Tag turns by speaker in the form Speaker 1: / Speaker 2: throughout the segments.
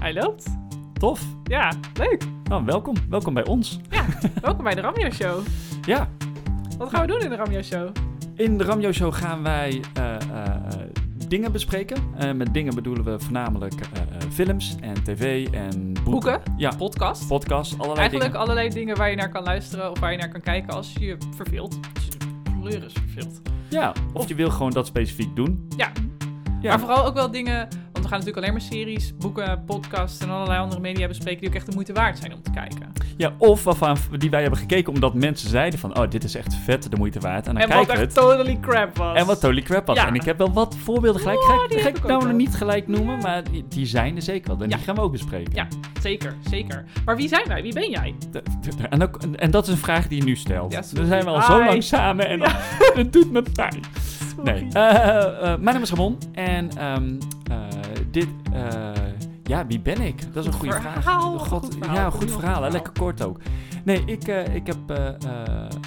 Speaker 1: Hij loopt.
Speaker 2: Tof.
Speaker 1: Ja, leuk.
Speaker 2: Nou, welkom. Welkom bij ons.
Speaker 1: Welkom bij de Ramjo Show.
Speaker 2: Ja,
Speaker 1: Wat gaan we doen in de Ramjo Show?
Speaker 2: in de Ramjo Show gaan wij eh, eh, dingen bespreken. Eh, met dingen bedoelen we voornamelijk eh, eh, films en tv en boeken.
Speaker 1: Boeken,
Speaker 2: Ja,
Speaker 1: podcast.
Speaker 2: podcast, allerlei
Speaker 1: Eigenlijk
Speaker 2: dingen.
Speaker 1: allerlei dingen waar je naar kan luisteren of waar je naar kan kijken als je je verveelt. Als je de kleur is verveelt.
Speaker 2: Ja, of, je wil gewoon dat specifiek doen.
Speaker 1: Ja.
Speaker 2: Ja.
Speaker 1: Maar vooral ook wel dingen, want we gaan natuurlijk alleen maar series, boeken, podcasts en allerlei andere media bespreken die ook echt de moeite waard zijn om te kijken.
Speaker 2: ja, of waarvan die wij hebben gekeken omdat mensen zeiden van... Oh, dit is echt vet, de moeite waard. En dan
Speaker 1: en wat
Speaker 2: kijken
Speaker 1: echt
Speaker 2: we het.
Speaker 1: totally crap was.
Speaker 2: En wat Totally Crap was.
Speaker 1: Ja.
Speaker 2: En ik heb wel wat voorbeelden gelijk.
Speaker 1: Oh,
Speaker 2: ga ik,
Speaker 1: die
Speaker 2: ga
Speaker 1: heb
Speaker 2: ik
Speaker 1: ik ook
Speaker 2: nou
Speaker 1: wel.
Speaker 2: nog niet gelijk noemen, maar die, die zijn er zeker wel. En
Speaker 1: Ja.
Speaker 2: die gaan we ook bespreken.
Speaker 1: Ja. Zeker, zeker. Maar wie zijn wij? Wie ben jij?
Speaker 2: De- de- de- En, ook, en- en dat is een vraag die je nu stelt.
Speaker 1: Ja,
Speaker 2: Dan
Speaker 1: sorry. Ah,
Speaker 2: zijn we al zo
Speaker 1: Ai.
Speaker 2: lang samen en het doet me pijn. Nee. eh, eh, mijn naam is Ramon en ehm, eh, dit... eh, ja, wie ben ik? Dat is een
Speaker 1: Goed
Speaker 2: goede
Speaker 1: verhaal,
Speaker 2: vraag.
Speaker 1: wat een goed verhaal.
Speaker 2: ja,
Speaker 1: Goed
Speaker 2: goed verhaal. hè.
Speaker 1: verhaal.
Speaker 2: Lekker kort ook. Nee, ik, eh, ik heb eh, eh,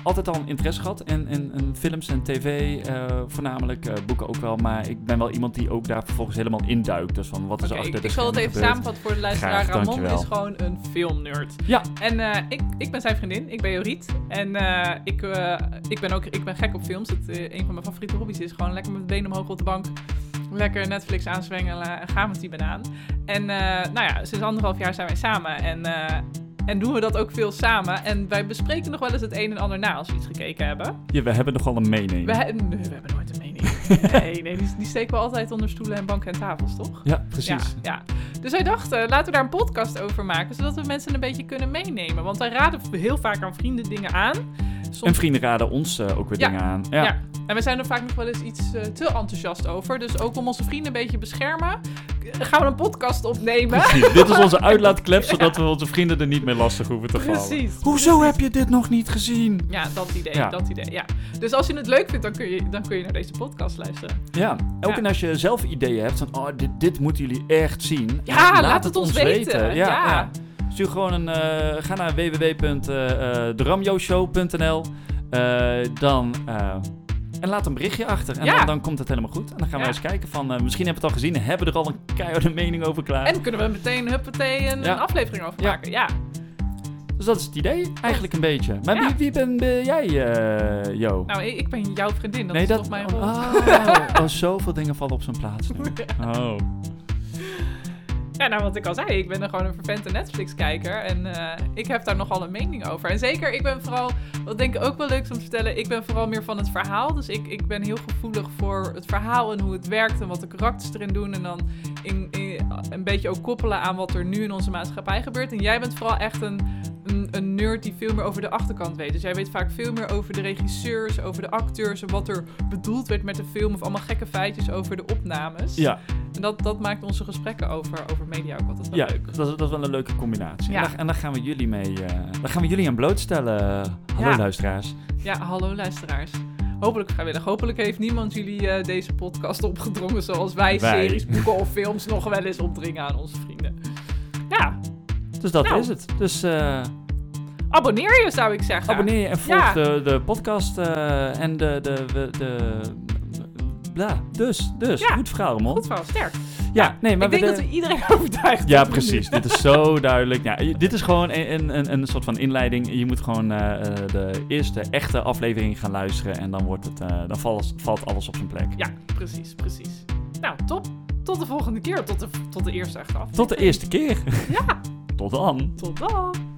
Speaker 2: altijd al een interesse gehad in, in, in films en tv. eh, voornamelijk eh, boeken ook wel. Maar ik ben wel iemand die ook daar vervolgens helemaal induikt. Dus van wat is
Speaker 1: Oké,
Speaker 2: er achter
Speaker 1: ik,
Speaker 2: de
Speaker 1: ik zal het
Speaker 2: schermen
Speaker 1: even
Speaker 2: gebeurd?
Speaker 1: samenvatten voor de luisteraar.
Speaker 2: Graag,
Speaker 1: Ramon
Speaker 2: dankjewel.
Speaker 1: is gewoon een filmnerd.
Speaker 2: Ja.
Speaker 1: En eh, ik, ik ben zijn vriendin, ik ben Joriet. En eh, ik, eh, ik, ben ook, ik ben gek op films. Het, eh, een van mijn favoriete hobby's is gewoon lekker met de benen omhoog op de bank. Lekker Netflix aanzwengelen en gaan met die banaan. En eh, nou ja, sinds anderhalf jaar zijn wij samen. En, eh, en doen we dat ook veel samen. En wij bespreken nog wel eens het een en ander na als we iets gekeken hebben.
Speaker 2: Ja, we hebben nogal een mening.
Speaker 1: We, he- nee, we hebben nooit een mening. Nee, nee die, die steken we altijd onder stoelen en banken en tafels, toch?
Speaker 2: Ja, precies.
Speaker 1: Ja, ja. Dus wij dachten, laten we daar een podcast over maken, zodat we mensen een beetje kunnen meenemen. Want wij raden heel vaak aan vrienden dingen aan. Soms-
Speaker 2: En vrienden raden ons eh, ook weer
Speaker 1: Ja.
Speaker 2: dingen aan.
Speaker 1: ja.
Speaker 2: Ja.
Speaker 1: En we zijn er vaak nog wel eens iets eh, te enthousiast over. Dus ook om onze vrienden een beetje beschermen, eh, gaan we een podcast opnemen.
Speaker 2: Precies. Dit is onze uitlaatklep, zodat we onze vrienden er niet mee lastig hoeven te vallen.
Speaker 1: Precies.
Speaker 2: Hoezo heb je dit nog niet gezien?
Speaker 1: Ja, dat idee,
Speaker 2: Ja.
Speaker 1: dat idee, ja. Dus als je het leuk vindt, dan kun je, dan kun je naar deze podcast luisteren.
Speaker 2: Ja, ook
Speaker 1: Ja.
Speaker 2: en als je zelf ideeën hebt van, oh, dit, dit moeten jullie echt zien.
Speaker 1: Ja, laat het ons weten. Ja.
Speaker 2: Stuur gewoon een, eh, ga naar www.deramjoshow.nl Eh, dan, eh, en laat een berichtje achter. En
Speaker 1: Ja.
Speaker 2: dan, dan komt het helemaal goed. En dan gaan
Speaker 1: Ja.
Speaker 2: we eens kijken van, eh, misschien hebben we het al gezien, hebben we er al een keiharde mening over klaar.
Speaker 1: En kunnen we meteen, huppatee, een,
Speaker 2: Ja.
Speaker 1: een aflevering over
Speaker 2: Ja.
Speaker 1: maken. Ja.
Speaker 2: Dus dat is het idee, eigenlijk een beetje. Maar
Speaker 1: Ja.
Speaker 2: wie, wie ben eh, jij, eh Jo?
Speaker 1: Nou, ik ik ben jouw vriendin, dat is toch mijn rol.
Speaker 2: Oh, oh, zoveel dingen vallen op zijn plaats nu. Oh.
Speaker 1: Ja, nou wat ik al zei, ik ben er gewoon een vervente Netflix-kijker en eh, ik heb daar nogal een mening over. En zeker, ik ben vooral, wat denk ik ook wel leuk is om te vertellen, ik ben vooral meer van het verhaal. Dus ik, ik ben heel gevoelig voor het verhaal en hoe het werkt en wat de karakters erin doen. En dan in, in- een beetje ook koppelen aan wat er nu in onze maatschappij gebeurt. En jij bent vooral echt een, een, een nerd die veel meer over de achterkant weet. Dus jij weet vaak veel meer over de regisseurs, over de acteurs en wat er bedoeld werd met de film. Of allemaal gekke feitjes over de opnames.
Speaker 2: Ja,
Speaker 1: En dat, dat maakt onze gesprekken over, over media ook altijd wel
Speaker 2: ja
Speaker 1: leuk.
Speaker 2: dat, is, dat is wel een leuke combinatie.
Speaker 1: Ja.
Speaker 2: En, daar, en daar gaan we jullie mee. eh, daar gaan we jullie aan blootstellen. Hallo
Speaker 1: Ja.
Speaker 2: luisteraars.
Speaker 1: Ja, hallo luisteraars. Hopelijk vrijwillig. Hopelijk heeft niemand jullie eh, deze podcast opgedrongen zoals wij,
Speaker 2: Wij.
Speaker 1: series, boeken of films nog wel eens opdringen aan onze vrienden. Ja,
Speaker 2: Dus dat
Speaker 1: Nou.
Speaker 2: is het. Dus eh,
Speaker 1: abonneer je zou ik zeggen.
Speaker 2: abonneer je en volg
Speaker 1: Ja.
Speaker 2: de, de podcast eh, en de. de, de, de ja, dus, dus.
Speaker 1: Ja.
Speaker 2: Goed verhaal, man.
Speaker 1: Goed wel, sterk.
Speaker 2: Ja, nee, maar
Speaker 1: ik denk
Speaker 2: we,
Speaker 1: dat we iedereen overtuigd
Speaker 2: Ja,
Speaker 1: hebben nu.
Speaker 2: precies. Dit is zo duidelijk. Ja, je- dit is gewoon een, een, een, een soort van inleiding. Je moet gewoon eh, eh, de eerste echte aflevering gaan luisteren. En dan, wordt het, eh, dan valt, valt alles op zijn plek.
Speaker 1: Ja, precies, precies. Nou, top. Tot de volgende keer. Tot de, tot de eerste echte aflevering.
Speaker 2: Tot de eerste keer.
Speaker 1: Ja.
Speaker 2: Tot dan.
Speaker 1: Tot dan.